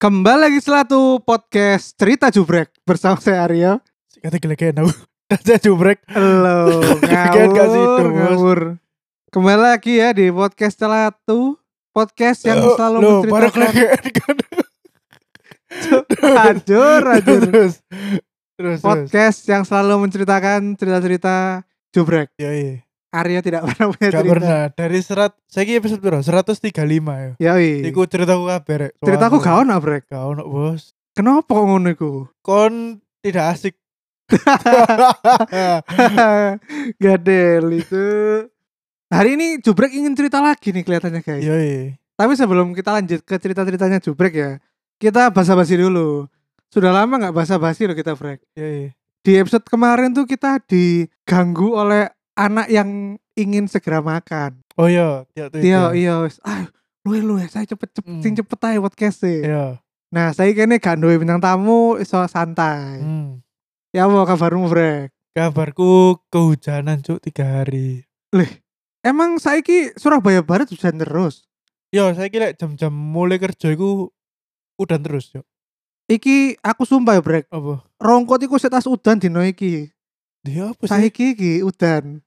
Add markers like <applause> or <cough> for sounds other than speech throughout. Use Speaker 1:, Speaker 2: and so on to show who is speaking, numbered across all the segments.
Speaker 1: Kembali lagi setelah tuh podcast Cerita Jubrek bersama saya Aryo.
Speaker 2: Kata gelegen aku. <laughs> Saya jubrek.
Speaker 1: Halo,
Speaker 2: <laughs> Kaget gak sih itu,
Speaker 1: ngawur,
Speaker 2: Bos?
Speaker 1: ngawur. Kembali lagi ya di podcast setelah tuh podcast yang
Speaker 2: Eh, Oh, Loh,
Speaker 1: selalu
Speaker 2: loh, baru
Speaker 1: menceritakan
Speaker 2: gelegen
Speaker 1: <laughs>
Speaker 2: <laughs> kan.
Speaker 1: hancur,
Speaker 2: <laughs>
Speaker 1: hancur.
Speaker 2: Terus. Terus. terus.
Speaker 1: podcast yang selalu menceritakan cerita-cerita Jubrek.
Speaker 2: Ya iya.
Speaker 1: Aryo tidak pernah punya
Speaker 2: Gak
Speaker 1: cerita.
Speaker 2: pernah. Dari serat saya ki episode berapa? 135 ya.
Speaker 1: Yoi.
Speaker 2: Iku ceritaku kabeh rek. Soalnya-
Speaker 1: Iya. Ceritaku gak ono, Brek.
Speaker 2: Gak ono, Bos.
Speaker 1: Kenapa ngono iku?
Speaker 2: <laughs> Kon tidak
Speaker 1: <laughs>
Speaker 2: asik.
Speaker 1: Gadel itu. Hari ini Jubrek ingin cerita lagi nih kelihatannya guys.
Speaker 2: Yo iya.
Speaker 1: Tapi sebelum kita lanjut ke cerita-ceritanya Jubrek ya, kita basa-basi dulu. Sudah lama nggak basa-basi loh kita Brek.
Speaker 2: Yo iya.
Speaker 1: Di episode kemarin tuh kita diganggu oleh anak yang ingin segera makan.
Speaker 2: Oh iya, Tiok tuh
Speaker 1: Iya,
Speaker 2: itu.
Speaker 1: iya, wis. ayo lu lu ya, saya cepet cepet,
Speaker 2: Hmm.
Speaker 1: sing cepet aja podcast
Speaker 2: Iya.
Speaker 1: Nah, saya kayaknya gak nduwe bintang tamu, iso santai.
Speaker 2: Hmm.
Speaker 1: Ya mau kabarmu Brek?
Speaker 2: Kabarku kehujanan cuk tiga hari.
Speaker 1: Lih, emang saiki Surabaya Barat hujan terus.
Speaker 2: Yo, saya kira jam-jam mulai kerja iku udan terus yo.
Speaker 1: Iki aku sumpah ya, Brek.
Speaker 2: Apa?
Speaker 1: Rongkot iku setas udan dino iki.
Speaker 2: Dia apa sih?
Speaker 1: Saiki iki udan.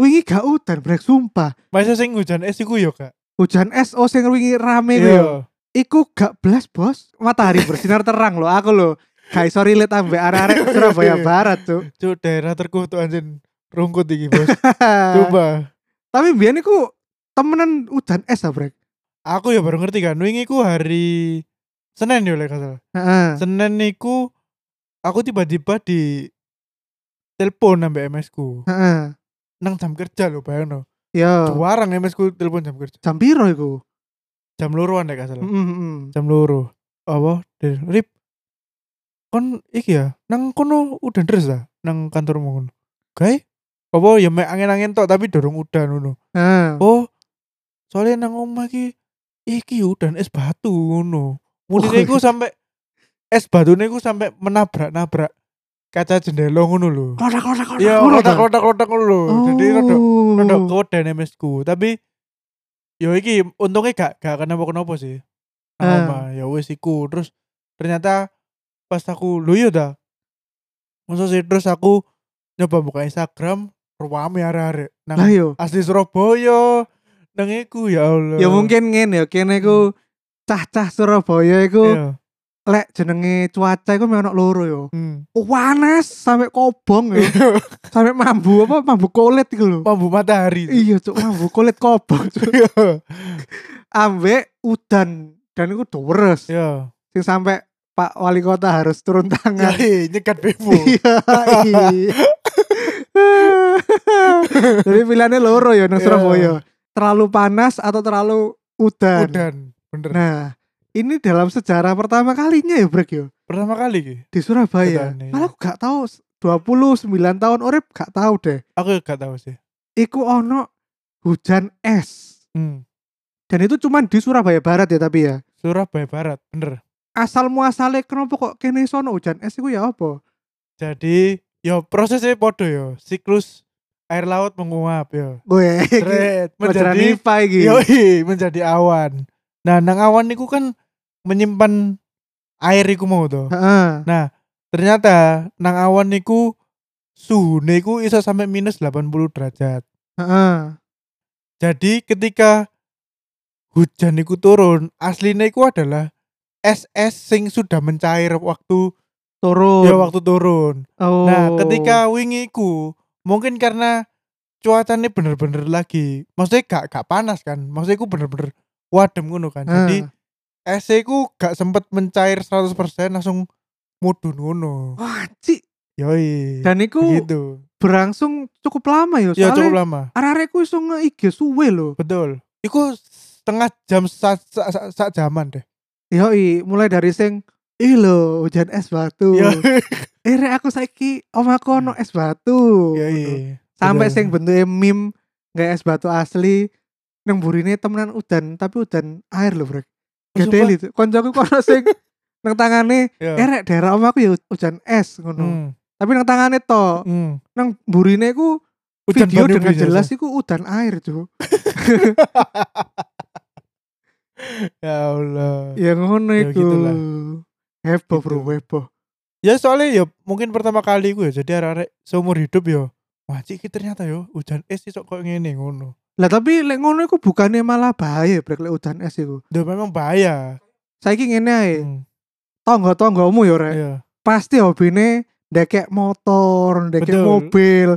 Speaker 1: Wingi gak udan, Brek, sumpah.
Speaker 2: Masa sing hujan es iku yo, Kak.
Speaker 1: Hujan es oh sing wingi
Speaker 2: Iya.
Speaker 1: rame ku yo. Iku gak blas, Bos. Matahari bersinar terang loh aku loh. Gak iso relate ambek
Speaker 2: <laughs>
Speaker 1: arek-arek Surabaya Barat, Cuk.
Speaker 2: Iya. Cuk, daerah terkutuk anjing rungkut iki, Bos. Coba.
Speaker 1: Tapi biyen iku temenan udan es ah, Brek.
Speaker 2: Aku ya baru ngerti kan, wingi ku hari Senin yo lek gak salah.
Speaker 1: Heeh.
Speaker 2: Senin niku aku tiba-tiba di telepon ambek MS ku.
Speaker 1: Heeh.
Speaker 2: Nang jam kerja lho, bayangno.
Speaker 1: Yo.
Speaker 2: Juarang MS ku telepon jam kerja.
Speaker 1: Jam piro iku? Mm,
Speaker 2: Jam luruan lek gak salah.
Speaker 1: Heeh, heeh.
Speaker 2: Jam luru. Apa? Dari Rip. Kon iki ya, nang kono udan terus ta? Nang kantormu kono. Gae? Apa ya mek angin-angin tok tapi dorong udan ngono.
Speaker 1: Heeh.
Speaker 2: Oh, soalnya nang omah ki iki udan es batu ngono.
Speaker 1: Oh,
Speaker 2: Mulane iku
Speaker 1: iya.
Speaker 2: sampe es batune iku sampe menabrak-nabrak kaca jendela ngono lho.
Speaker 1: Ah, Kotak-kotak.
Speaker 2: Iya,
Speaker 1: ngono ta?
Speaker 2: kotak-kotak-kotak ngono lho. Jadi
Speaker 1: Oh.
Speaker 2: rodok rodok kewedene mesku, tapi yo iki untungnya gak gak kenapa-kenapa sih. Nang
Speaker 1: Ah.
Speaker 2: omah ya wis iku. Terus ternyata pas aku lho yo ta. Masa sih terus aku nyoba buka Instagram, ruame arek-arek nang
Speaker 1: Lah yo.
Speaker 2: asli Surabaya nang iku ya Allah
Speaker 1: Ya mungkin ngene ya kene iku cah-cah Surabaya iku
Speaker 2: Hmm. Iya.
Speaker 1: lek jenenge cuaca iku memang ono loro yo. Oh,
Speaker 2: hmm.
Speaker 1: Panas sampai kobong yo.
Speaker 2: Iya.
Speaker 1: sampai mambu apa mambu kulit iku lho.
Speaker 2: mambu matahari
Speaker 1: Iya cuk mambu kulit kobong cuk.
Speaker 2: iya
Speaker 1: Ambek udan dan iku deres.
Speaker 2: iya
Speaker 1: Sing sampai Pak Wali Kota harus turun tangan.
Speaker 2: Yoi, Iya. nyekat
Speaker 1: <laughs>
Speaker 2: bebo
Speaker 1: Iya. iya. Jadi pilihannya loro ya nang
Speaker 2: Iya.
Speaker 1: Surabaya. Terlalu panas atau terlalu udan.
Speaker 2: udan bener
Speaker 1: Iya. Nah, ini dalam sejarah pertama kalinya ya Brek yo
Speaker 2: pertama kali ki
Speaker 1: di Surabaya.
Speaker 2: Betul, iya.
Speaker 1: Malah aku gak tahu 29 tahun urip gak tahu deh.
Speaker 2: aku gak tahu sih
Speaker 1: Iku ono hujan es.
Speaker 2: hmm.
Speaker 1: Dan itu cuman di Surabaya Barat ya tapi ya.
Speaker 2: Surabaya Barat bener
Speaker 1: Asal muasale kenapa kok kene sono hujan es iku ya apa?
Speaker 2: jadi yo prosesnya podo yo siklus air laut menguap yo
Speaker 1: Gue <laughs>
Speaker 2: Seret,
Speaker 1: pelajaran
Speaker 2: menjadi
Speaker 1: IPA iki.
Speaker 2: yoi menjadi awan nah nang awan niku kan menyimpan air iku mau tuh
Speaker 1: Heeh.
Speaker 2: Nah, ternyata nang awan niku suhu niku iso sampai minus 80 derajat.
Speaker 1: Heeh.
Speaker 2: Jadi ketika hujan niku turun, aslinya iku adalah es-es sing sudah mencair waktu
Speaker 1: Turun.
Speaker 2: ya waktu turun.
Speaker 1: Oh.
Speaker 2: Nah, ketika wingi iku mungkin karena cuacanya bener-bener lagi, maksudnya gak gak panas kan, maksudnya iku bener-bener wadem ngono kan.
Speaker 1: Heeh.
Speaker 2: Jadi es iku gak sempet mencair 100% langsung mudun ngono.
Speaker 1: wah, Ci.
Speaker 2: Yoi.
Speaker 1: Dan iku
Speaker 2: gitu.
Speaker 1: berlangsung cukup lama yo.
Speaker 2: Ya
Speaker 1: Soalnya
Speaker 2: cukup lama.
Speaker 1: arek-arek ku iso nge-IG suwe lho.
Speaker 2: Betul. Iku setengah jam sak sa, sa, sa jaman deh.
Speaker 1: Yoi, mulai dari sing Ih lho, hujan es batu.
Speaker 2: Yo. <laughs>
Speaker 1: Eh rek aku saiki omaku
Speaker 2: Hmm.
Speaker 1: ono es batu.
Speaker 2: Iya, ya,
Speaker 1: Ngono.
Speaker 2: Yoi.
Speaker 1: Sampai
Speaker 2: Betul.
Speaker 1: sing bentuke meme nggak es batu asli nang burine temenan udan tapi udan air lho, Brek.
Speaker 2: Oh,
Speaker 1: Gedel itu. Koncoku kok ono
Speaker 2: <laughs>
Speaker 1: sing nang tangane
Speaker 2: Yo.
Speaker 1: eh rek daerah omahku ya hujan es ngono.
Speaker 2: Hmm.
Speaker 1: Tapi nang tangane to,
Speaker 2: Hmm.
Speaker 1: nang burine ku
Speaker 2: Hujan
Speaker 1: video
Speaker 2: banyu
Speaker 1: dengan
Speaker 2: biasa.
Speaker 1: jelas iku udan air, Cuk.
Speaker 2: ya Allah
Speaker 1: ya ngono
Speaker 2: Ya,
Speaker 1: iku
Speaker 2: gitulah.
Speaker 1: heboh bro
Speaker 2: Gitu.
Speaker 1: heboh
Speaker 2: ya soalnya ya mungkin pertama kali gue jadi arek seumur hidup ya wah cik iki ternyata yo hujan es sih kok ngene ngono
Speaker 1: lah tapi lek ngono iku bukannya malah bahaya brek lek udan es iku
Speaker 2: udah memang bahaya
Speaker 1: saiki ngene ae
Speaker 2: Hmm,
Speaker 1: tangga-tanggamu ya rek
Speaker 2: iya
Speaker 1: pasti hobine ndekek motor ndekek
Speaker 2: Betul.
Speaker 1: mobil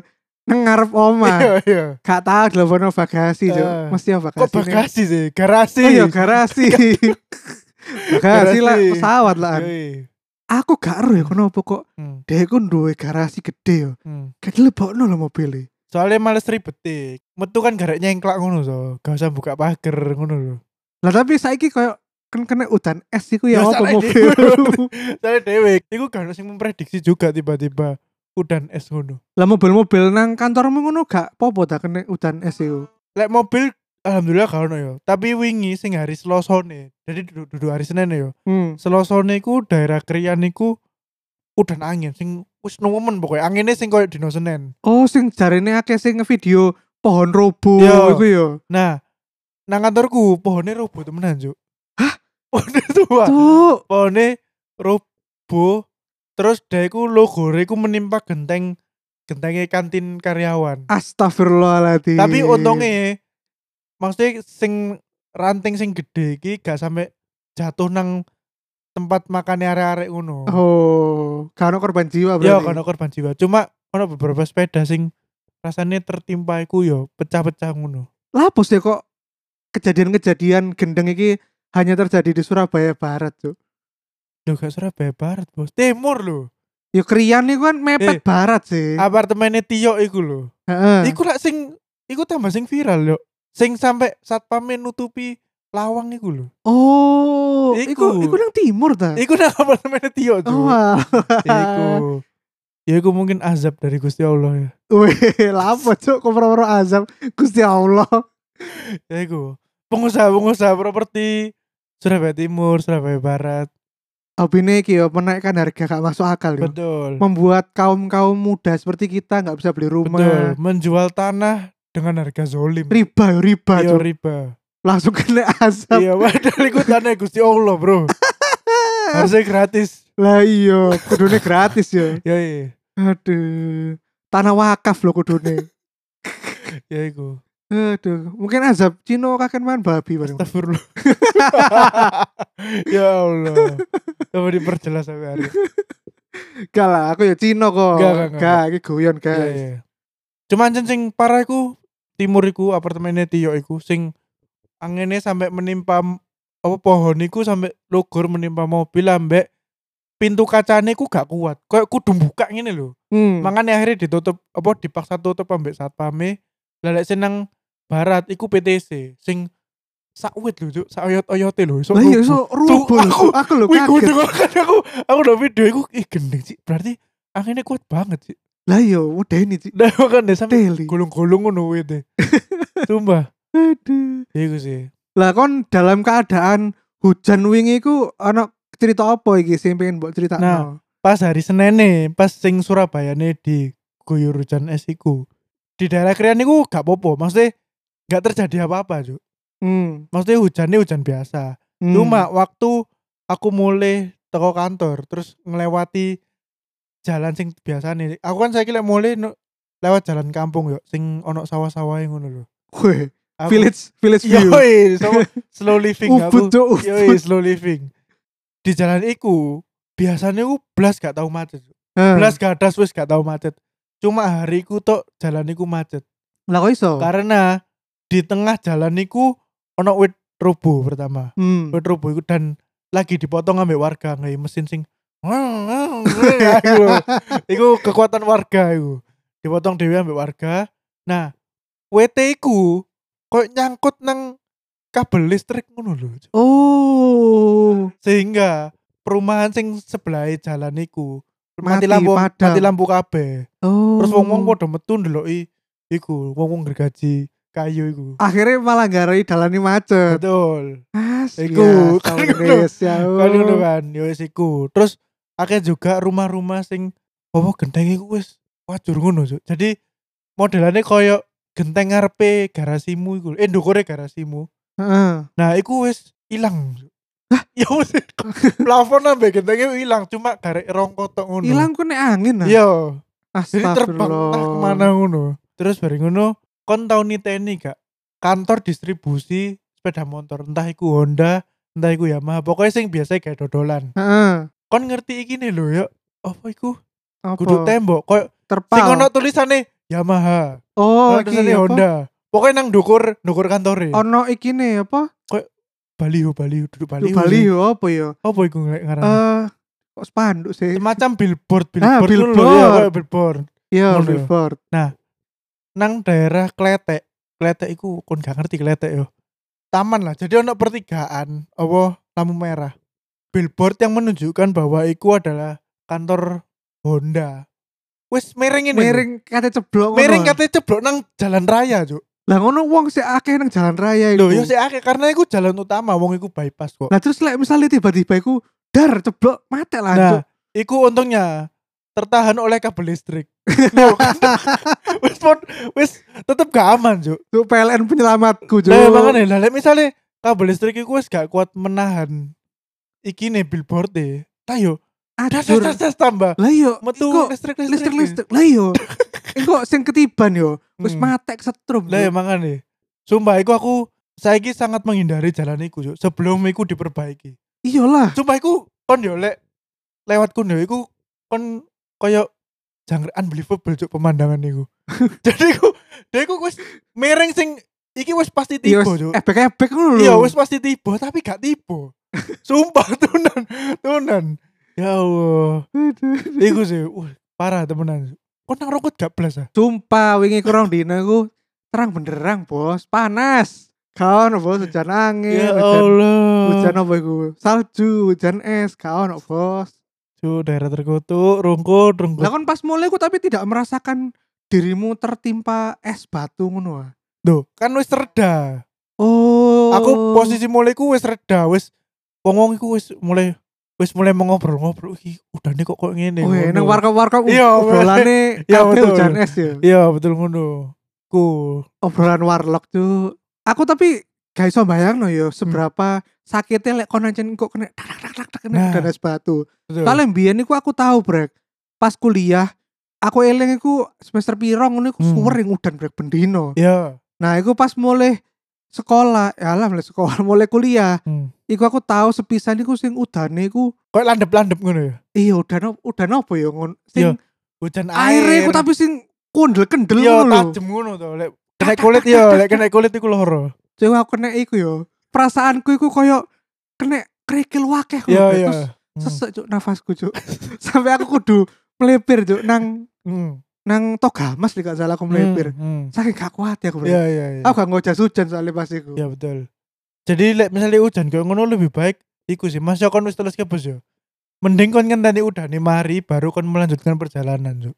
Speaker 1: nang ngarep omah
Speaker 2: <laughs> iya iya
Speaker 1: gak tau dilepono bagasi Cuk.
Speaker 2: Eh.
Speaker 1: mesti ya bagasi
Speaker 2: kok bagasi sih garasi
Speaker 1: oh iya garasi
Speaker 2: <laughs> Garasi. Iya.
Speaker 1: bagasi lah pesawat lah An.
Speaker 2: Yoi.
Speaker 1: aku gak ero ya kenapa kok
Speaker 2: Hmm,
Speaker 1: dia ku duwe garasi gede ya
Speaker 2: hmm.
Speaker 1: kayak dilebokno e. lah mobilnya
Speaker 2: soalnya males ribet eh. metu kan garek nyengklak ngono so gak usah buka pagar ngono lho
Speaker 1: lah tapi saiki koyo kan kena udan es iku ya
Speaker 2: Ya,
Speaker 1: apa
Speaker 2: salah
Speaker 1: mobil <laughs>
Speaker 2: soalnya dewe iku gak ada sing memprediksi juga tiba-tiba udan es ngono
Speaker 1: lah mobil-mobil nang kantormu ngono gak popo dah kena udan es iku
Speaker 2: lek mobil alhamdulillah gak ono yo tapi wingi sing hari selosone jadi duduk, duduk hari senin yo
Speaker 1: hmm.
Speaker 2: selosone iku daerah krian iku udan angin sing wis nemen pokoknya anginnya sing koyo dino senin
Speaker 1: oh sing jarine akeh sing video pohon robo
Speaker 2: Yo.
Speaker 1: iku ya. yo
Speaker 2: nah nang kantorku pohonnya roboh temenan juk hah pohonnya <laughs> tua
Speaker 1: tuh
Speaker 2: pohone roboh terus deku logore ku menimpa genteng gentengnya kantin karyawan
Speaker 1: astagfirullahaladzim
Speaker 2: tapi untungnya maksudnya sing ranting sing gede iki gak sampe jatuh nang tempat makan arek-arek ngono
Speaker 1: oh gak ono korban jiwa berarti
Speaker 2: ya kono korban jiwa cuma ono beberapa sepeda sing rasanya tertimpa iku yo pecah-pecah ngono
Speaker 1: lah bos ya kok kejadian-kejadian gendeng iki hanya terjadi di Surabaya Barat tuh
Speaker 2: Lho gak Surabaya Barat bos Timur lho
Speaker 1: Ya Krian itu kan mepet
Speaker 2: Eh.
Speaker 1: barat sih.
Speaker 2: apartemennya Tio iku lho
Speaker 1: Heeh.
Speaker 2: Iku lah sing iku tambah sing viral yo. Sing sampe satpame nutupi lawang iku lho.
Speaker 1: oh, iku
Speaker 2: Iku.
Speaker 1: iku nang timur ta?
Speaker 2: Iku nang <laughs> apartemen Tio tuh.
Speaker 1: Oh, wah. <laughs>
Speaker 2: Iku. Ya iku mungkin azab dari Gusti Allah ya.
Speaker 1: Weh, lapo cuk kompro-kompro azab Gusti Allah.
Speaker 2: Ya iku. Pengusaha-pengusaha properti Surabaya Timur, Surabaya Barat.
Speaker 1: Abine iki yo menaikkan harga gak masuk akal yo.
Speaker 2: Betul.
Speaker 1: Membuat kaum-kaum muda seperti kita nggak bisa beli
Speaker 2: Betul.
Speaker 1: rumah.
Speaker 2: Menjual tanah dengan harga zolim.
Speaker 1: Riba yo riba
Speaker 2: Iya,
Speaker 1: Cuk.
Speaker 2: riba.
Speaker 1: Langsung kena azab.
Speaker 2: Iya, padahal iku tanah Gusti Allah,
Speaker 1: Iya.
Speaker 2: Bro. Harusnya gratis.
Speaker 1: <laughs> Lah iya, kudune gratis yo.
Speaker 2: Ya iya.
Speaker 1: Aduh. Tanah wakaf loh kudune.
Speaker 2: Ya iku.
Speaker 1: Aduh, mungkin azab Cino kakek makan babi bareng.
Speaker 2: Astagfirullah. <laughs> ya Allah. Coba diperjelas sampai hari.
Speaker 1: Gak lah, aku ya Cino kok.
Speaker 2: Gak, gak, gak.
Speaker 1: Gak, iki guyon, guys.
Speaker 2: Ya, ya. Cuman jen sing parah iku timur iku apartemennya Tio iku sing anginnya sampai menimpa m- apa pohon iku sampai logor menimpa mobil ambek pintu kacane iku gak kuat. Kayak kudu buka ngene lho.
Speaker 1: Hmm.
Speaker 2: Makanya akhirnya ditutup apa dipaksa tutup ambek satpame. Lalek seneng barat iku PTC sing sakwit lho, Cuk. Saoyot-oyote lho. iso
Speaker 1: Lah iya
Speaker 2: rubuh.
Speaker 1: iso rubuh. Aku
Speaker 2: aku-
Speaker 1: aku lho
Speaker 2: Wih, gue
Speaker 1: kaget.
Speaker 2: dengar kan aku, aku udah video, aku ih gendeng sih. Berarti anginnya kuat banget <laughs> sih.
Speaker 1: Lah iya udah ini Cik.
Speaker 2: Nah, kan deh sampai
Speaker 1: Teli.
Speaker 2: gulung-gulung ngono wih deh. Sumpah,
Speaker 1: Aduh.
Speaker 2: ya gue sih.
Speaker 1: Lah kon dalam keadaan hujan wingi iku ana cerita apa iki sing pengen mbok critakno?
Speaker 2: Nah. Pas hari Senin e, pas sing Surabaya nih di guyur hujan es iku. Di daerah krian iku gak popo, maksudnya gak terjadi apa-apa, Cuk.
Speaker 1: Hmm.
Speaker 2: Maksudnya hujannya hujan biasa.
Speaker 1: Hmm.
Speaker 2: Cuma waktu aku mulai teko kantor terus ngelewati jalan sing biasa nih. Aku kan saya kira mulai nu- lewat jalan kampung yo, sing ono sawah-sawah yang ngono lho.
Speaker 1: Hmm. Weh,
Speaker 2: Aku-
Speaker 1: village village view.
Speaker 2: Yoi, sama slow living
Speaker 1: Ubud
Speaker 2: aku.
Speaker 1: cuk. ubud.
Speaker 2: Yoi, slow living. Di jalan iku biasanya aku blas gak tau macet.
Speaker 1: Eh,
Speaker 2: Blas gak ada wis gak tau macet. Cuma hari iku tok jalan iku macet.
Speaker 1: Lah kok iso?
Speaker 2: Karena di tengah jalan iku ono wit robo pertama. <laughs>
Speaker 1: Hmm.
Speaker 2: Wet robo iku dan lagi dipotong ambek warga nggak mesin sing iku, iku kekuatan warga iku dipotong dewe ambek warga nah WT iku kok nyangkut nang kabel listrik ngono lho Cuk.
Speaker 1: Oh,
Speaker 2: sehingga perumahan sing sebelah jalan iku
Speaker 1: Mati,
Speaker 2: mati, lampu
Speaker 1: padam.
Speaker 2: mati lampu kabeh
Speaker 1: oh.
Speaker 2: terus wong-wong padha metu ndeloki iku wong-wong gergaji kayu iku
Speaker 1: akhirnya malah garai dalane macet.
Speaker 2: betul
Speaker 1: Asli.
Speaker 2: Iku.
Speaker 1: ya, tahun Indonesia.
Speaker 2: kan Iya, ngono
Speaker 1: Hmm.
Speaker 2: kan ya wis iku terus akeh juga rumah-rumah sing apa genteng iku wis wajur ngono Cuk. jadi modelane koyo genteng ngarepe e garasimu iku eh ndukure garasimu
Speaker 1: Heeh.
Speaker 2: nah iku wis ilang. <laughs> Ya wis. Plafon ambek gentengnya ilang cuma garek rong kotok ngono.
Speaker 1: Hilang ku nek angin nah.
Speaker 2: Iya. Jadi terbang
Speaker 1: Astagfirullah.
Speaker 2: entah kemana ngono. Terus bari ngono kon tau niteni gak kantor distribusi sepeda motor entah iku Honda, entah iku Yamaha, pokoknya sing biasa kayak dodolan.
Speaker 1: Heeh.
Speaker 2: Kon ngerti iki nih lho ya. Apa iku?
Speaker 1: Apa?
Speaker 2: Kudu tembok koyo
Speaker 1: terpal.
Speaker 2: sing ono tulisane Yamaha.
Speaker 1: oh,
Speaker 2: Oh,
Speaker 1: iki
Speaker 2: tulisane
Speaker 1: apa?
Speaker 2: Honda. Pokoknya nang dukur, dukur kantore.
Speaker 1: Ono iki ne apa?
Speaker 2: Baliho, baliho, duduk
Speaker 1: Bali
Speaker 2: baliho.
Speaker 1: Bali yo apa yo?
Speaker 2: Apa iku ngelek ngaran?
Speaker 1: Eh kok spanduk sih?
Speaker 2: semacam billboard
Speaker 1: Ah,
Speaker 2: billboard, dulu
Speaker 1: billboard.
Speaker 2: ya kayak billboard
Speaker 1: Iya,
Speaker 2: ngono.
Speaker 1: billboard.
Speaker 2: nang daerah kletek kletek iku kon gak ngerti kletek yo taman lah jadi ono pertigaan apa lampu merah billboard yang menunjukkan bahwa iku adalah kantor Honda wis miring ini
Speaker 1: Miring kate ceblok ngono.
Speaker 2: miring katanya ceblok nang jalan raya cuk
Speaker 1: Lah ngono wong sik akeh nang jalan raya
Speaker 2: lho
Speaker 1: iku.
Speaker 2: yo sik akeh karena iku jalan utama wong iku bypass kok
Speaker 1: iya. Lah terus lek misalnya tiba-tiba iku dar ceblok mate lah.
Speaker 2: nah
Speaker 1: Cuk. <laughs>
Speaker 2: iku untungnya tertahan oleh kabel listrik <laughs> Lho, wis pon- wis tetep gak aman cuk
Speaker 1: Cuk, PLN penyelamatku Cuk.
Speaker 2: Lah makane ya. lah lek misale kabel listrik iku wis gak kuat menahan iki nih billboard e. Ta yo, das das
Speaker 1: Adur.
Speaker 2: das, das, tambah.
Speaker 1: Lah yo
Speaker 2: Metu
Speaker 1: iku
Speaker 2: listrik
Speaker 1: listrik
Speaker 2: listrik.
Speaker 1: listrik. Lah yo. Engko sing ketiban yo wis
Speaker 2: Hmm.
Speaker 1: matek setrum.
Speaker 2: Lah ya
Speaker 1: Cuk.
Speaker 2: makane. Sumpah iku aku saiki sangat menghindari jalan iku yo. Sebelum iku diperbaiki.
Speaker 1: Iyalah.
Speaker 2: Sumpah iku kon yo lek lewat kon yo iku kon koyo jangkrik unbelievable cuk pemandangan
Speaker 1: <laughs>
Speaker 2: iku. Jadi iku dia iku wis miring sing iki wis pasti
Speaker 1: Iya
Speaker 2: tiba
Speaker 1: wis
Speaker 2: cuk.
Speaker 1: ebek-ebek ngono lho.
Speaker 2: Iya wis pasti tiba tapi gak tiba. <laughs> Sumpah tunan, tunan. Ya Allah. Iku sih, wah, parah temenan. Kok nang rokok gak belas ah?
Speaker 1: <laughs> Sumpah wingi kurang dino iku terang benderang, Bos. Panas. Kaon bos hujan angin,
Speaker 2: Ya
Speaker 1: hujan,
Speaker 2: Allah.
Speaker 1: hujan apa iku? Salju, hujan es, kaon bos.
Speaker 2: Cuk, daerah terkutuk, rungkut, rungkut.
Speaker 1: Lah kon pas mulai ku tapi tidak merasakan dirimu tertimpa es batu ngono ah.
Speaker 2: Duh, kan wis reda.
Speaker 1: Oh.
Speaker 2: Aku posisi mulai ku wis reda, wis wong-wong iku wis mulai wis mulai mengobrol-ngobrol iki udane kok kok ngene.
Speaker 1: Oh,
Speaker 2: ngono.
Speaker 1: nang warkop-warkop
Speaker 2: Iya,
Speaker 1: ob- obrolane
Speaker 2: <laughs> iya,
Speaker 1: kabeh
Speaker 2: betul.
Speaker 1: hujan es ya.
Speaker 2: Iya, betul ngono. Ku.
Speaker 1: Obrolan warlock tuh. Aku tapi gak iso bayangno
Speaker 2: Hmm.
Speaker 1: yo seberapa sakitnya lek kon ancen kok kena tak tak tak tak kena
Speaker 2: Nah. Iya.
Speaker 1: hujan es batu.
Speaker 2: Betul.
Speaker 1: Soalnya mbiyen niku aku tahu, Brek. Pas kuliah aku eling iku semester piro ngono iku
Speaker 2: Hmm.
Speaker 1: suwering udan brek bendino.
Speaker 2: Iya.
Speaker 1: Nah, iku pas mulai sekolah, ya alah mulai sekolah, mulai kuliah,
Speaker 2: Hmm.
Speaker 1: iku aku tahu sepisan iku sing udane iku
Speaker 2: Kok landep-landep ngono ya?
Speaker 1: iya udan op- udan apa ya ngono. Sing
Speaker 2: Hujan Iya. air. Iya,
Speaker 1: aire iku tapi sing kondel kendel
Speaker 2: Yo
Speaker 1: ngono lho.
Speaker 2: tajem ngono to lek kena kulit yo lek kena kulit iku loro.
Speaker 1: Cewek aku kena iku yo. Perasaanku iku koyo kena kerikil wakeh lho,
Speaker 2: Yo
Speaker 1: Brek.
Speaker 2: yo.
Speaker 1: Terus sesek cuk nafasku cuk. <laughs> Sampai aku kudu melipir cuk nang
Speaker 2: Hmm.
Speaker 1: nang togamas nek gak salah aku melipir.
Speaker 2: Hmm.
Speaker 1: saking gak kuat ya aku bro.
Speaker 2: Iya iya iya.
Speaker 1: Aku gak nggo jas hujan soalnya pas iku.
Speaker 2: Ya betul. Jadi lek misalnya hujan kayak ngono lebih baik iku sih. Mas yo kon wis teles kebes yo. Mending kon ngenteni udane mari baru kon melanjutkan perjalanan, Cuk.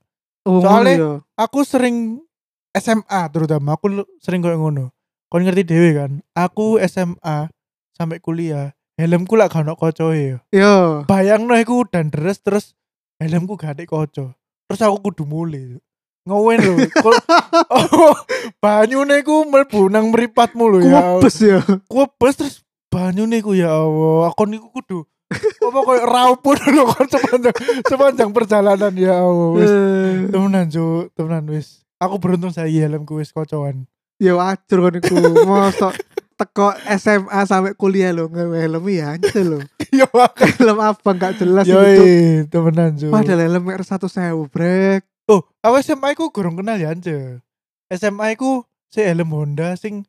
Speaker 1: Oh,
Speaker 2: Soalnya-
Speaker 1: ngono ya.
Speaker 2: Aku sering SMA terutama aku lu- sering kayak ngono. Kon ngerti dhewe kan? Aku SMA sampai kuliah helmku lak gak ono kocoe yo.
Speaker 1: Yo.
Speaker 2: bayangno aku udan deres terus helmku gak ada koco terus aku kudu mulai ngowen lho Kok- oh, banyune ku mlebu nang meripatmu lho ya
Speaker 1: Kuwebes ya.
Speaker 2: kuwebes terus banyune ku ya Allah aku niku kudu apa koyo raupun lho kon sepanjang sepanjang perjalanan ya Allah
Speaker 1: <laughs>
Speaker 2: wis
Speaker 1: Eh,
Speaker 2: temenan cuk temenan wis aku beruntung saya helmku wis kocoan
Speaker 1: Ya wacur kan iku. Mosok teko SMA sampai kuliah lho ngewe helm ya anjir lho.
Speaker 2: yo
Speaker 1: Helm apa gak jelas
Speaker 2: yo
Speaker 1: itu.
Speaker 2: temenan cuk
Speaker 1: Padahal helm R1000 brek.
Speaker 2: Oh, aku SMA ku gurung kenal ya anje. SMA ku si helm Honda sing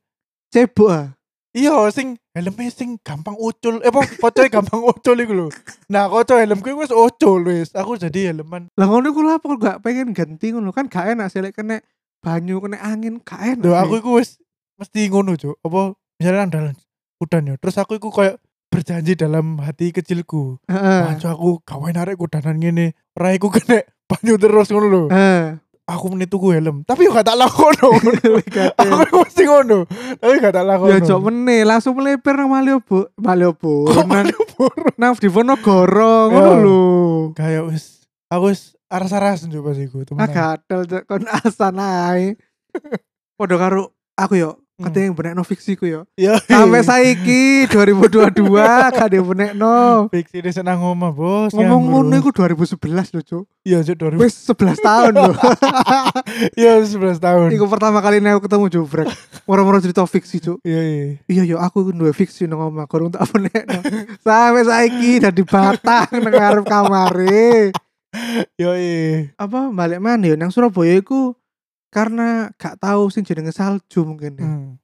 Speaker 1: Cebok ah.
Speaker 2: iya sing helmnya sing gampang ucul. Eh, apa kocoe gampang ucul iku lho. Nah, kocoe helmku iku wis ucul wis. Aku jadi helman.
Speaker 1: Lah ngono iku lha kok gak pengen ganti ngono kan gak enak sih lek kena banyu kena angin gak enak.
Speaker 2: Duh,
Speaker 1: sih.
Speaker 2: aku iku wis mesti ngono, Cuk. Apa misalnya andalan udan ya. Terus aku iku koyo berjanji dalam hati kecilku.
Speaker 1: Heeh.
Speaker 2: Wah, Cuk, aku gawe narik kudanan ngene. Ora iku kena banyu terus ngono lho.
Speaker 1: Heeh.
Speaker 2: Aku meni tuku helm. Tapi yo gak tak lakono.
Speaker 1: <laughs> Gatel.
Speaker 2: aku mesti ngono. Tapi gak tak lakono.
Speaker 1: Ya cok meneh langsung melipir nang Malioboro, Malioboro
Speaker 2: Kok
Speaker 1: nang
Speaker 2: Malioboro?
Speaker 1: nang Diponegoro ngono
Speaker 2: Ya.
Speaker 1: lho.
Speaker 2: kayak wis aku wis aras-arasan
Speaker 1: ya?
Speaker 2: coba sih gue teman
Speaker 1: <laughs> Agak adel cok kon asan ae. Padha karo aku yo katanya yang benekno fiksi ku yo.
Speaker 2: Ya.
Speaker 1: Sampai <laughs> saiki 2022 gak ada yang benekno.
Speaker 2: fiksi ini senang ngomong bos.
Speaker 1: Ngomong ngono
Speaker 2: nyambung.
Speaker 1: iku 2011 lho, Cuk.
Speaker 2: Iya cuk 2000.
Speaker 1: Wis 11 tahun <laughs> lho.
Speaker 2: Iya 11 tahun.
Speaker 1: Iku pertama kali nek aku ketemu Jobrek. Moro-moro cerita fiksi, Cuk.
Speaker 2: Iya iya.
Speaker 1: Iya yo aku iku duwe fiksi nang omah kurang tak <laughs> benekno. Sampai saiki dadi batang nang arep kamare.
Speaker 2: Iya iya.
Speaker 1: Apa balik mana yo nang Surabaya iku karena gak tahu sing jenenge salju mungkin ya.
Speaker 2: Hmm.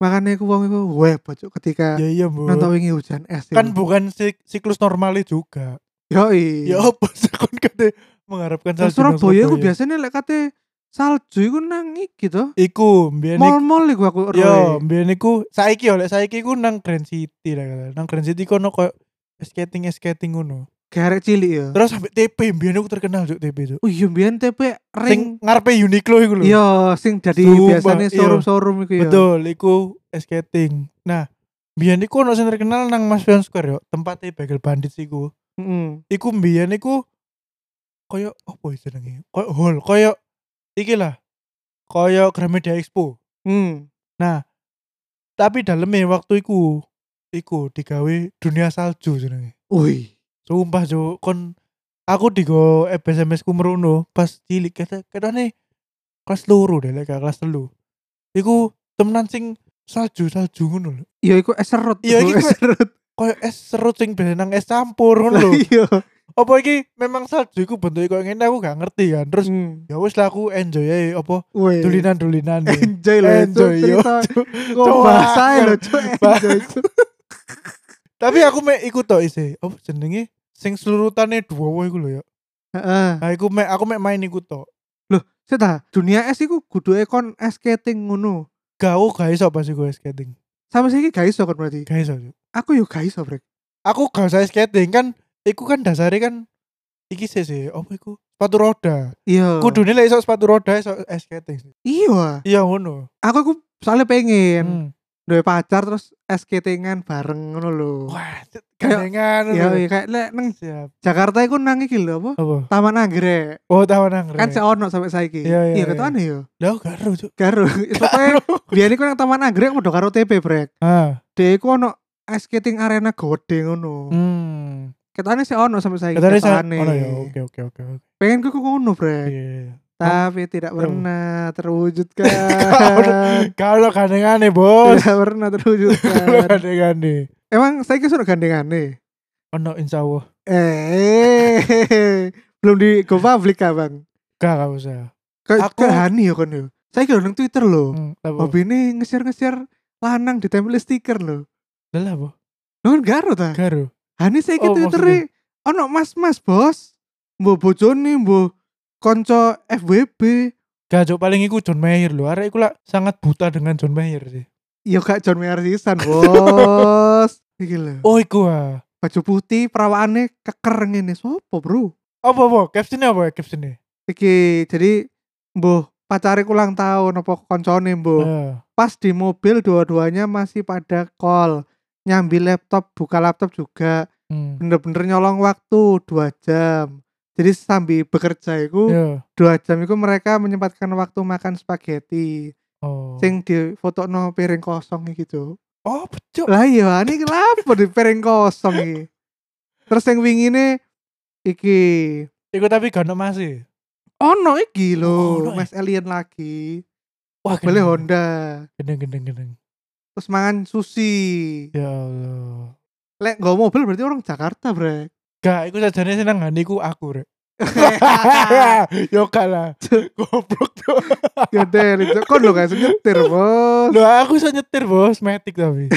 Speaker 1: Makanya aku wong iku weh bocok ketika
Speaker 2: Iya iya bu.
Speaker 1: nonton wingi hujan es.
Speaker 2: Kan bukan sik- siklus normalnya juga.
Speaker 1: yo
Speaker 2: Ya apa sih kon kate mengharapkan
Speaker 1: Nah,
Speaker 2: salju nang
Speaker 1: Iya. Surabaya iku biasanya lek kate salju iku nang iki to.
Speaker 2: Iku mbiyen iku-
Speaker 1: Mall-mall iku aku
Speaker 2: Yo,
Speaker 1: eroe.
Speaker 2: mbiyen iku saiki oleh saiki iku nang Grand City lah kata. Nang Grand City kono koyo skating skating ngono.
Speaker 1: Garek cilik ya.
Speaker 2: Terus sampai TP mbiyen aku terkenal juk TP juk.
Speaker 1: Oh iya mbiyen TP
Speaker 2: Sing
Speaker 1: ring. Iya,
Speaker 2: ngarepe Uniqlo iku lho.
Speaker 1: Yo sing dadi
Speaker 2: Sumpah,
Speaker 1: biasanya
Speaker 2: iya.
Speaker 1: showroom-showroom iku ya.
Speaker 2: Betul, iku skating. Nah, mbiyen iku ono sing terkenal nang Mas Pion Square yo, tempatnya Bagel Bandit iku.
Speaker 1: Heeh.
Speaker 2: Iku mbiyen iku koyo opo ya jenenge? Koyo hall, koyo iki lah. Koyo Gramedia Expo.
Speaker 1: Hmm.
Speaker 2: Nah, tapi dalamnya waktu iku iku digawe dunia salju jenenge.
Speaker 1: Wih.
Speaker 2: Sumpah jo kon aku digo SMS ku merono pas cilik kata katane kelas loro deh lek gak kelas telu. Iku temenan sing salju salju ngono lho.
Speaker 1: Iya iku es serut.
Speaker 2: Iya,
Speaker 1: iku
Speaker 2: iku-
Speaker 1: es serut.
Speaker 2: Koyo es serut sing biasa nang es campur ngono
Speaker 1: Lah,
Speaker 2: lho.
Speaker 1: Oh, Iya.
Speaker 2: Apa iki memang salju iku bentuke koyo ngene aku gak ngerti kan. Terus
Speaker 1: Hmm.
Speaker 2: ya wis lah aku enjoy ae apa
Speaker 1: Wih.
Speaker 2: dulinan-dulinan.
Speaker 1: <laughs>
Speaker 2: e. ya.
Speaker 1: Enjoy lho.
Speaker 2: Enjoy, yo.
Speaker 1: Kok bahasa lho cuk enjoy. Cuk.
Speaker 2: Tapi aku mek iku tok isi. Apa jenenge? Sing selurutane dua iku lho ya.
Speaker 1: Heeh.
Speaker 2: Nah, iku mek aku mek main iku tok.
Speaker 1: Saya tahu, dunia es iku kudu kon es skating ngono.
Speaker 2: Gak gak iso pas iku skating.
Speaker 1: Sampai saiki gak iso kan berarti.
Speaker 2: Gak iso. Cuk.
Speaker 1: Aku yo gak iso, Brek.
Speaker 2: Aku gak usah skating kan iku kan dasare kan iki sih sih apa iku? Sepatu roda.
Speaker 1: Iya.
Speaker 2: Kudu nilai iso sepatu roda iso ice skating.
Speaker 1: Iya.
Speaker 2: Iya ngono.
Speaker 1: Aku aku soalnya pengen
Speaker 2: Hmm.
Speaker 1: duwe pacar terus es skatingan bareng ngono lho.
Speaker 2: Wah, cuk,
Speaker 1: Kayak-
Speaker 2: gandengan. ngono.
Speaker 1: Ya iya, kayak lek nang
Speaker 2: siap.
Speaker 1: Jakarta iku nang iki lho apa?
Speaker 2: Apa?
Speaker 1: Taman Anggrek.
Speaker 2: Oh, tahu nang.
Speaker 1: Kan saya ono sampai saiki.
Speaker 2: Iya, iya, iya.
Speaker 1: ketuane yo.
Speaker 2: Lah gak ero, Cuk. <laughs>
Speaker 1: Karo pokoke biyen iku nang Taman Anggrek padha karo TP, Brek.
Speaker 2: Ah.
Speaker 1: Dek iku ono es skating arena gode ngono.
Speaker 2: Hmm.
Speaker 1: Ketane saya ono sampai saiki.
Speaker 2: Katanya saya-
Speaker 1: ketane.
Speaker 2: Oh, ya, oke oke oke. oke.
Speaker 1: Pengen ku ku ngono, Brek.
Speaker 2: Iya.
Speaker 1: tapi tidak pernah
Speaker 2: pernah. <laughs>
Speaker 1: terwujudkan
Speaker 2: <laughs> Kalau gandengane,
Speaker 1: <laughs>
Speaker 2: Bos.
Speaker 1: tidak pernah
Speaker 2: Kalau
Speaker 1: terwujudkan
Speaker 2: gandengane.
Speaker 1: emang saya kira sudah gandengane
Speaker 2: Ono insya Allah.
Speaker 1: eh belum di go public kah bang
Speaker 2: Gak, gak usah.
Speaker 1: kayak
Speaker 2: Aku-
Speaker 1: ke Hani ya kon yo saya kira nang Twitter loh
Speaker 2: Hmm, apa?
Speaker 1: hobi ini nge-share nge-share lanang di tempel stiker loh
Speaker 2: Lah lah, Bo.
Speaker 1: lo kan garo ta
Speaker 2: Garo.
Speaker 1: Hani saya kira
Speaker 2: Oh,
Speaker 1: Twitter ono mas mas bos mbok bojone mbok konco FWB
Speaker 2: Gak, Cuk, paling iku John Mayer lho. Arek iku lah sangat buta dengan John Mayer sih.
Speaker 1: Yo Ya, kak John Mayer sisan
Speaker 2: <laughs>
Speaker 1: bos Iki lho.
Speaker 2: Oh, iku ah.
Speaker 1: baju putih perawaannya keker ngene sopo bro
Speaker 2: Apa, Bo? Captionnya apa ya captionnya?
Speaker 1: iki jadi mbuh pacare ulang tahun apa koncone mbuh
Speaker 2: Eh,
Speaker 1: pas di mobil dua-duanya masih pada call nyambi laptop buka laptop juga
Speaker 2: hmm.
Speaker 1: bener-bener nyolong waktu dua jam jadi sambil bekerja itu
Speaker 2: Iya.
Speaker 1: dua jam itu mereka menyempatkan waktu makan spaghetti
Speaker 2: Oh.
Speaker 1: sing di foto no piring kosong gitu
Speaker 2: Oh, becok.
Speaker 1: lah iya ini kenapa di piring kosong iki terus yang wingi ini iki
Speaker 2: Iku tapi gak ono e. masih.
Speaker 1: ono iki
Speaker 2: Oh,
Speaker 1: lho
Speaker 2: ono, eh.
Speaker 1: Mas Alien lagi
Speaker 2: Wah,
Speaker 1: beli Honda
Speaker 2: Gendeng gendeng gendeng.
Speaker 1: terus mangan sushi
Speaker 2: Ya Allah.
Speaker 1: lek nggak mobil berarti orang Jakarta
Speaker 2: <laughs>
Speaker 1: brek
Speaker 2: Gak, iku sajane seneng ngene iku
Speaker 1: <laughs>
Speaker 2: aku, Rek. <laughs> Yo gak lah. Goblok tuh.
Speaker 1: ya deh itu kon lo kayak
Speaker 2: <laughs>
Speaker 1: nyetir bos
Speaker 2: Loh, aku bisa nyetir, Bos. Matic tapi.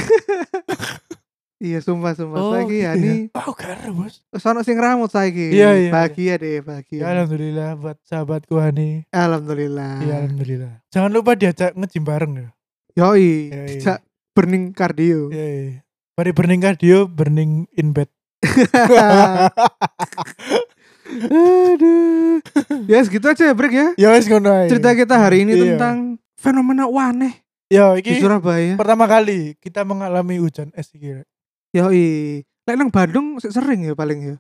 Speaker 1: iya sumpah sumpah saiki
Speaker 2: gitu
Speaker 1: ya
Speaker 2: ya.
Speaker 1: ini
Speaker 2: <laughs> Oh, gak ada, Bos.
Speaker 1: terus ono sing rambut saiki
Speaker 2: Iya, iya,
Speaker 1: bahagia deh bahagia
Speaker 2: Ya, alhamdulillah buat sahabatku Hani.
Speaker 1: alhamdulillah
Speaker 2: Iya, alhamdulillah. Jangan lupa diajak ngejim bareng ya.
Speaker 1: yoi
Speaker 2: Yoi.
Speaker 1: dijak burning cardio
Speaker 2: Iya, iya. Mari burning cardio, burning in bed.
Speaker 1: aduh <laughs> ya segitu aja ya brek ya
Speaker 2: Ya wes ngono ae.
Speaker 1: cerita kita hari ini
Speaker 2: Iya.
Speaker 1: tentang fenomena waneh
Speaker 2: ya
Speaker 1: di
Speaker 2: iki
Speaker 1: Surabaya
Speaker 2: pertama kali kita mengalami hujan es iki. Rek.
Speaker 1: Yoi. Lek nang Bandung sik sering ya paling ya.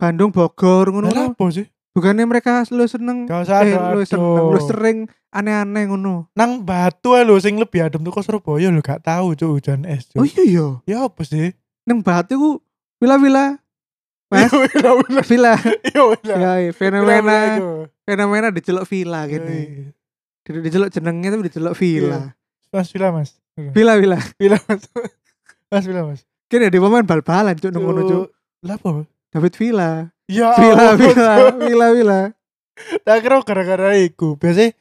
Speaker 1: Bandung Bogor ngono.
Speaker 2: Lah,
Speaker 1: ngono.
Speaker 2: apa sih?
Speaker 1: bukannya mereka lu seneng
Speaker 2: Gak usah
Speaker 1: eh lu
Speaker 2: ado-ado.
Speaker 1: seneng lu sering aneh-aneh ngono
Speaker 2: Nang batu ae lho sing lebih adem tuh kok Surabaya lho gak tahu cuk hujan es
Speaker 1: oh
Speaker 2: cuk.
Speaker 1: iya iya
Speaker 2: Ya apa sih?
Speaker 1: neng batu ku wila-wila Mas.
Speaker 2: <laughs> Ya wila, wila, <laughs>
Speaker 1: villa
Speaker 2: ya
Speaker 1: ya
Speaker 2: wila.
Speaker 1: iya,
Speaker 2: Wila, wila,
Speaker 1: fenomena
Speaker 2: yo.
Speaker 1: fenomena diceluk villa gini
Speaker 2: Yoi.
Speaker 1: Di- diceluk jenengnya tapi
Speaker 2: Iya.
Speaker 1: diceluk villa
Speaker 2: Mas Vila Mas.
Speaker 1: villa villa
Speaker 2: Vila Mas. Mas Vila Mas.
Speaker 1: kini ada pemain bal-balan cuk neng ngono cuk
Speaker 2: Cuk, Lah apa?
Speaker 1: David Villa
Speaker 2: Ya
Speaker 1: Villa
Speaker 2: Allah,
Speaker 1: Villa
Speaker 2: cuk.
Speaker 1: Villa Villa
Speaker 2: Tak kira gara-gara iku. Biasanya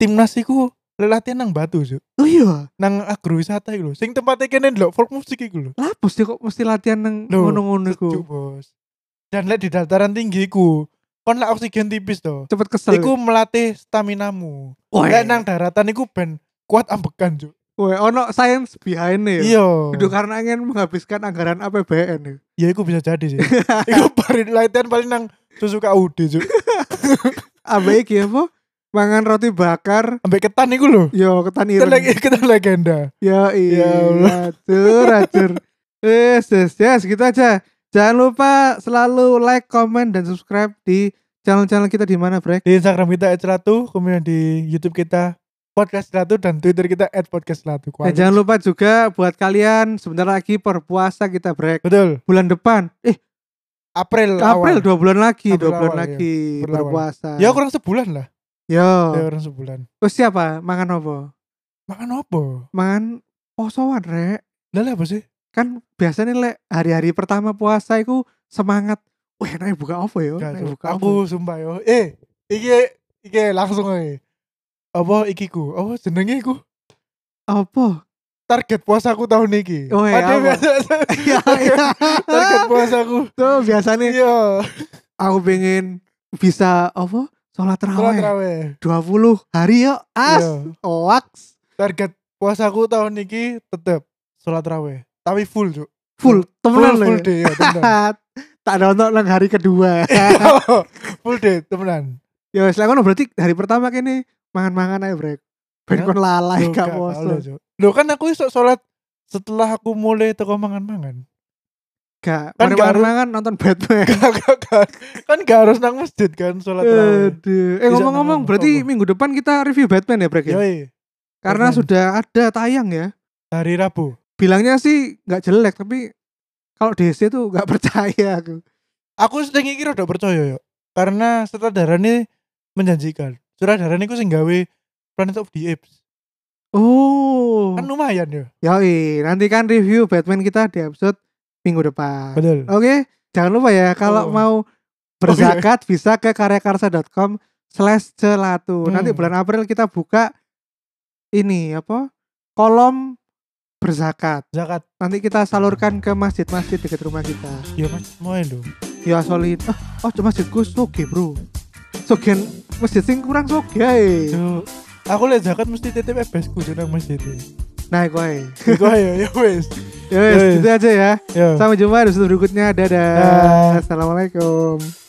Speaker 2: timnas iku latihan nang batu cuk.
Speaker 1: oh iya
Speaker 2: Nang agrowisata iku lho. Sing tempatnya kene ndelok folk musik iku lho.
Speaker 1: lapus dia kok mesti latihan neng
Speaker 2: Loh,
Speaker 1: ngono-ngono iku
Speaker 2: Cuk, Bos. Dan lek di dataran tinggi iku kon lek oksigen tipis to.
Speaker 1: cepet kesel
Speaker 2: Iku melatih staminamu.
Speaker 1: Woy.
Speaker 2: Lek nang daratan iku ben kuat ambekan cuk.
Speaker 1: Weh, ono science behind ya.
Speaker 2: Iya.
Speaker 1: Itu karena ingin menghabiskan anggaran APBN ya.
Speaker 2: Ya iku bisa jadi <laughs> sih. iku paling latihan paling nang Suzuka Ude cuk.
Speaker 1: Ambek iki ya, apa? Mangan roti bakar,
Speaker 2: Ambek ketan iku lho.
Speaker 1: yo ketan
Speaker 2: Kita
Speaker 1: ireng.
Speaker 2: lagi kita legenda.
Speaker 1: Ya
Speaker 2: Ya
Speaker 1: iya,
Speaker 2: Allah.
Speaker 1: acur, acur. Yes, yes, yes, gitu aja. Jangan lupa selalu like, komen, dan subscribe di channel-channel kita di mana, Brek.
Speaker 2: Di Instagram kita @celatu, kemudian di YouTube kita podcast celatu dan Twitter kita @podcastcelatu.
Speaker 1: Dan Eh, jangan lupa juga buat kalian sebentar lagi perpuasa kita, Brek.
Speaker 2: Betul.
Speaker 1: Bulan depan, eh
Speaker 2: April.
Speaker 1: April
Speaker 2: awal.
Speaker 1: dua bulan lagi,
Speaker 2: April
Speaker 1: dua bulan
Speaker 2: awal,
Speaker 1: lagi
Speaker 2: iya. April awal.
Speaker 1: berpuasa.
Speaker 2: Ya kurang sebulan lah.
Speaker 1: Yo,
Speaker 2: Ya kurang sebulan.
Speaker 1: terus siapa? Mangan apa?
Speaker 2: Makan apa?
Speaker 1: Mangan posoan, Rek.
Speaker 2: Lah lah apa sih?
Speaker 1: kan biasanya lek hari-hari pertama puasa itu semangat wah enaknya buka apa ya
Speaker 2: Gak,
Speaker 1: enaknya
Speaker 2: Cuk.
Speaker 1: buka
Speaker 2: aku sumpah yo. Eh, iki iki langsung ae. Apa iki ku? Apa jenenge iku?
Speaker 1: apa <laughs> apa
Speaker 2: Target puasaku tahun iki.
Speaker 1: Oh, iya, apa?
Speaker 2: biasa-
Speaker 1: ya, ya.
Speaker 2: <laughs> target
Speaker 1: <laughs>
Speaker 2: puasaku.
Speaker 1: tuh biasanya
Speaker 2: Iya,
Speaker 1: aku pengen bisa apa sholat
Speaker 2: sholat
Speaker 1: terawih
Speaker 2: raweh.
Speaker 1: 20 hari yuk as
Speaker 2: Iya.
Speaker 1: oaks
Speaker 2: target puasaku tahun ini tetep sholat raweh tapi full cuk
Speaker 1: full temenan
Speaker 2: full,
Speaker 1: lho
Speaker 2: full
Speaker 1: ya.
Speaker 2: day ya
Speaker 1: <laughs>
Speaker 2: temenan
Speaker 1: tak ada untuk nang hari
Speaker 2: <laughs>
Speaker 1: kedua
Speaker 2: full day temenan
Speaker 1: ya selain ngono berarti hari pertama kene mangan-mangan aja brek ben
Speaker 2: Ya.
Speaker 1: kon lalai
Speaker 2: Loh,
Speaker 1: gak
Speaker 2: gak boleh,
Speaker 1: poso
Speaker 2: Cuk. Loh, kan aku iso sholat setelah aku mulai teko mangan-mangan <laughs>
Speaker 1: gak
Speaker 2: Kan gak harus-
Speaker 1: mangan-mangan nonton Batman
Speaker 2: Gak- gak- gak. kan gak harus nang masjid kan sholat raweh
Speaker 1: Aduh. Eh
Speaker 2: Bisa
Speaker 1: ngomong-ngomong,
Speaker 2: ngomong.
Speaker 1: berarti
Speaker 2: Apa?
Speaker 1: minggu depan kita review Batman ya, Brek? ya?
Speaker 2: Yoi,
Speaker 1: Karena
Speaker 2: Batman.
Speaker 1: sudah ada tayang ya.
Speaker 2: hari Rabu
Speaker 1: Bilangnya sih nggak jelek, tapi kalau DC tuh nggak <laughs> percaya aku.
Speaker 2: aku sedang kira udah percaya yuk karena sutradarane menjanjikan sutradarane ku sing gawe Planet of the Apes
Speaker 1: Oh.
Speaker 2: kan lumayan yo
Speaker 1: Yoi, nanti kan review Batman kita di episode minggu depan.
Speaker 2: betul
Speaker 1: Oke, jangan lupa ya kalau
Speaker 2: Oh. <laughs>
Speaker 1: mau berzakat bisa ke karyakarsa.com slash celatu.
Speaker 2: Hmm.
Speaker 1: Nanti bulan April kita buka ini apa? Kolom berzakat.
Speaker 2: zakat
Speaker 1: Nanti kita salurkan ke masjid-masjid dekat rumah kita.
Speaker 2: yo mas mau lho
Speaker 1: Ya solid. Ah, oh, cuma masjidku soge, Bro. Sogen masjid sing kurang soge ae.
Speaker 2: Cuk, aku lihat zakat mesti titip ebesku di nang masjid.
Speaker 1: Nah, iku ae.
Speaker 2: Iku ayo ya wes.
Speaker 1: Ya wes,
Speaker 2: Yoi.
Speaker 1: gitu aja ya.
Speaker 2: Yo.
Speaker 1: Sampai jumpa di episode berikutnya. Dadah.
Speaker 2: Dah.
Speaker 1: Assalamualaikum.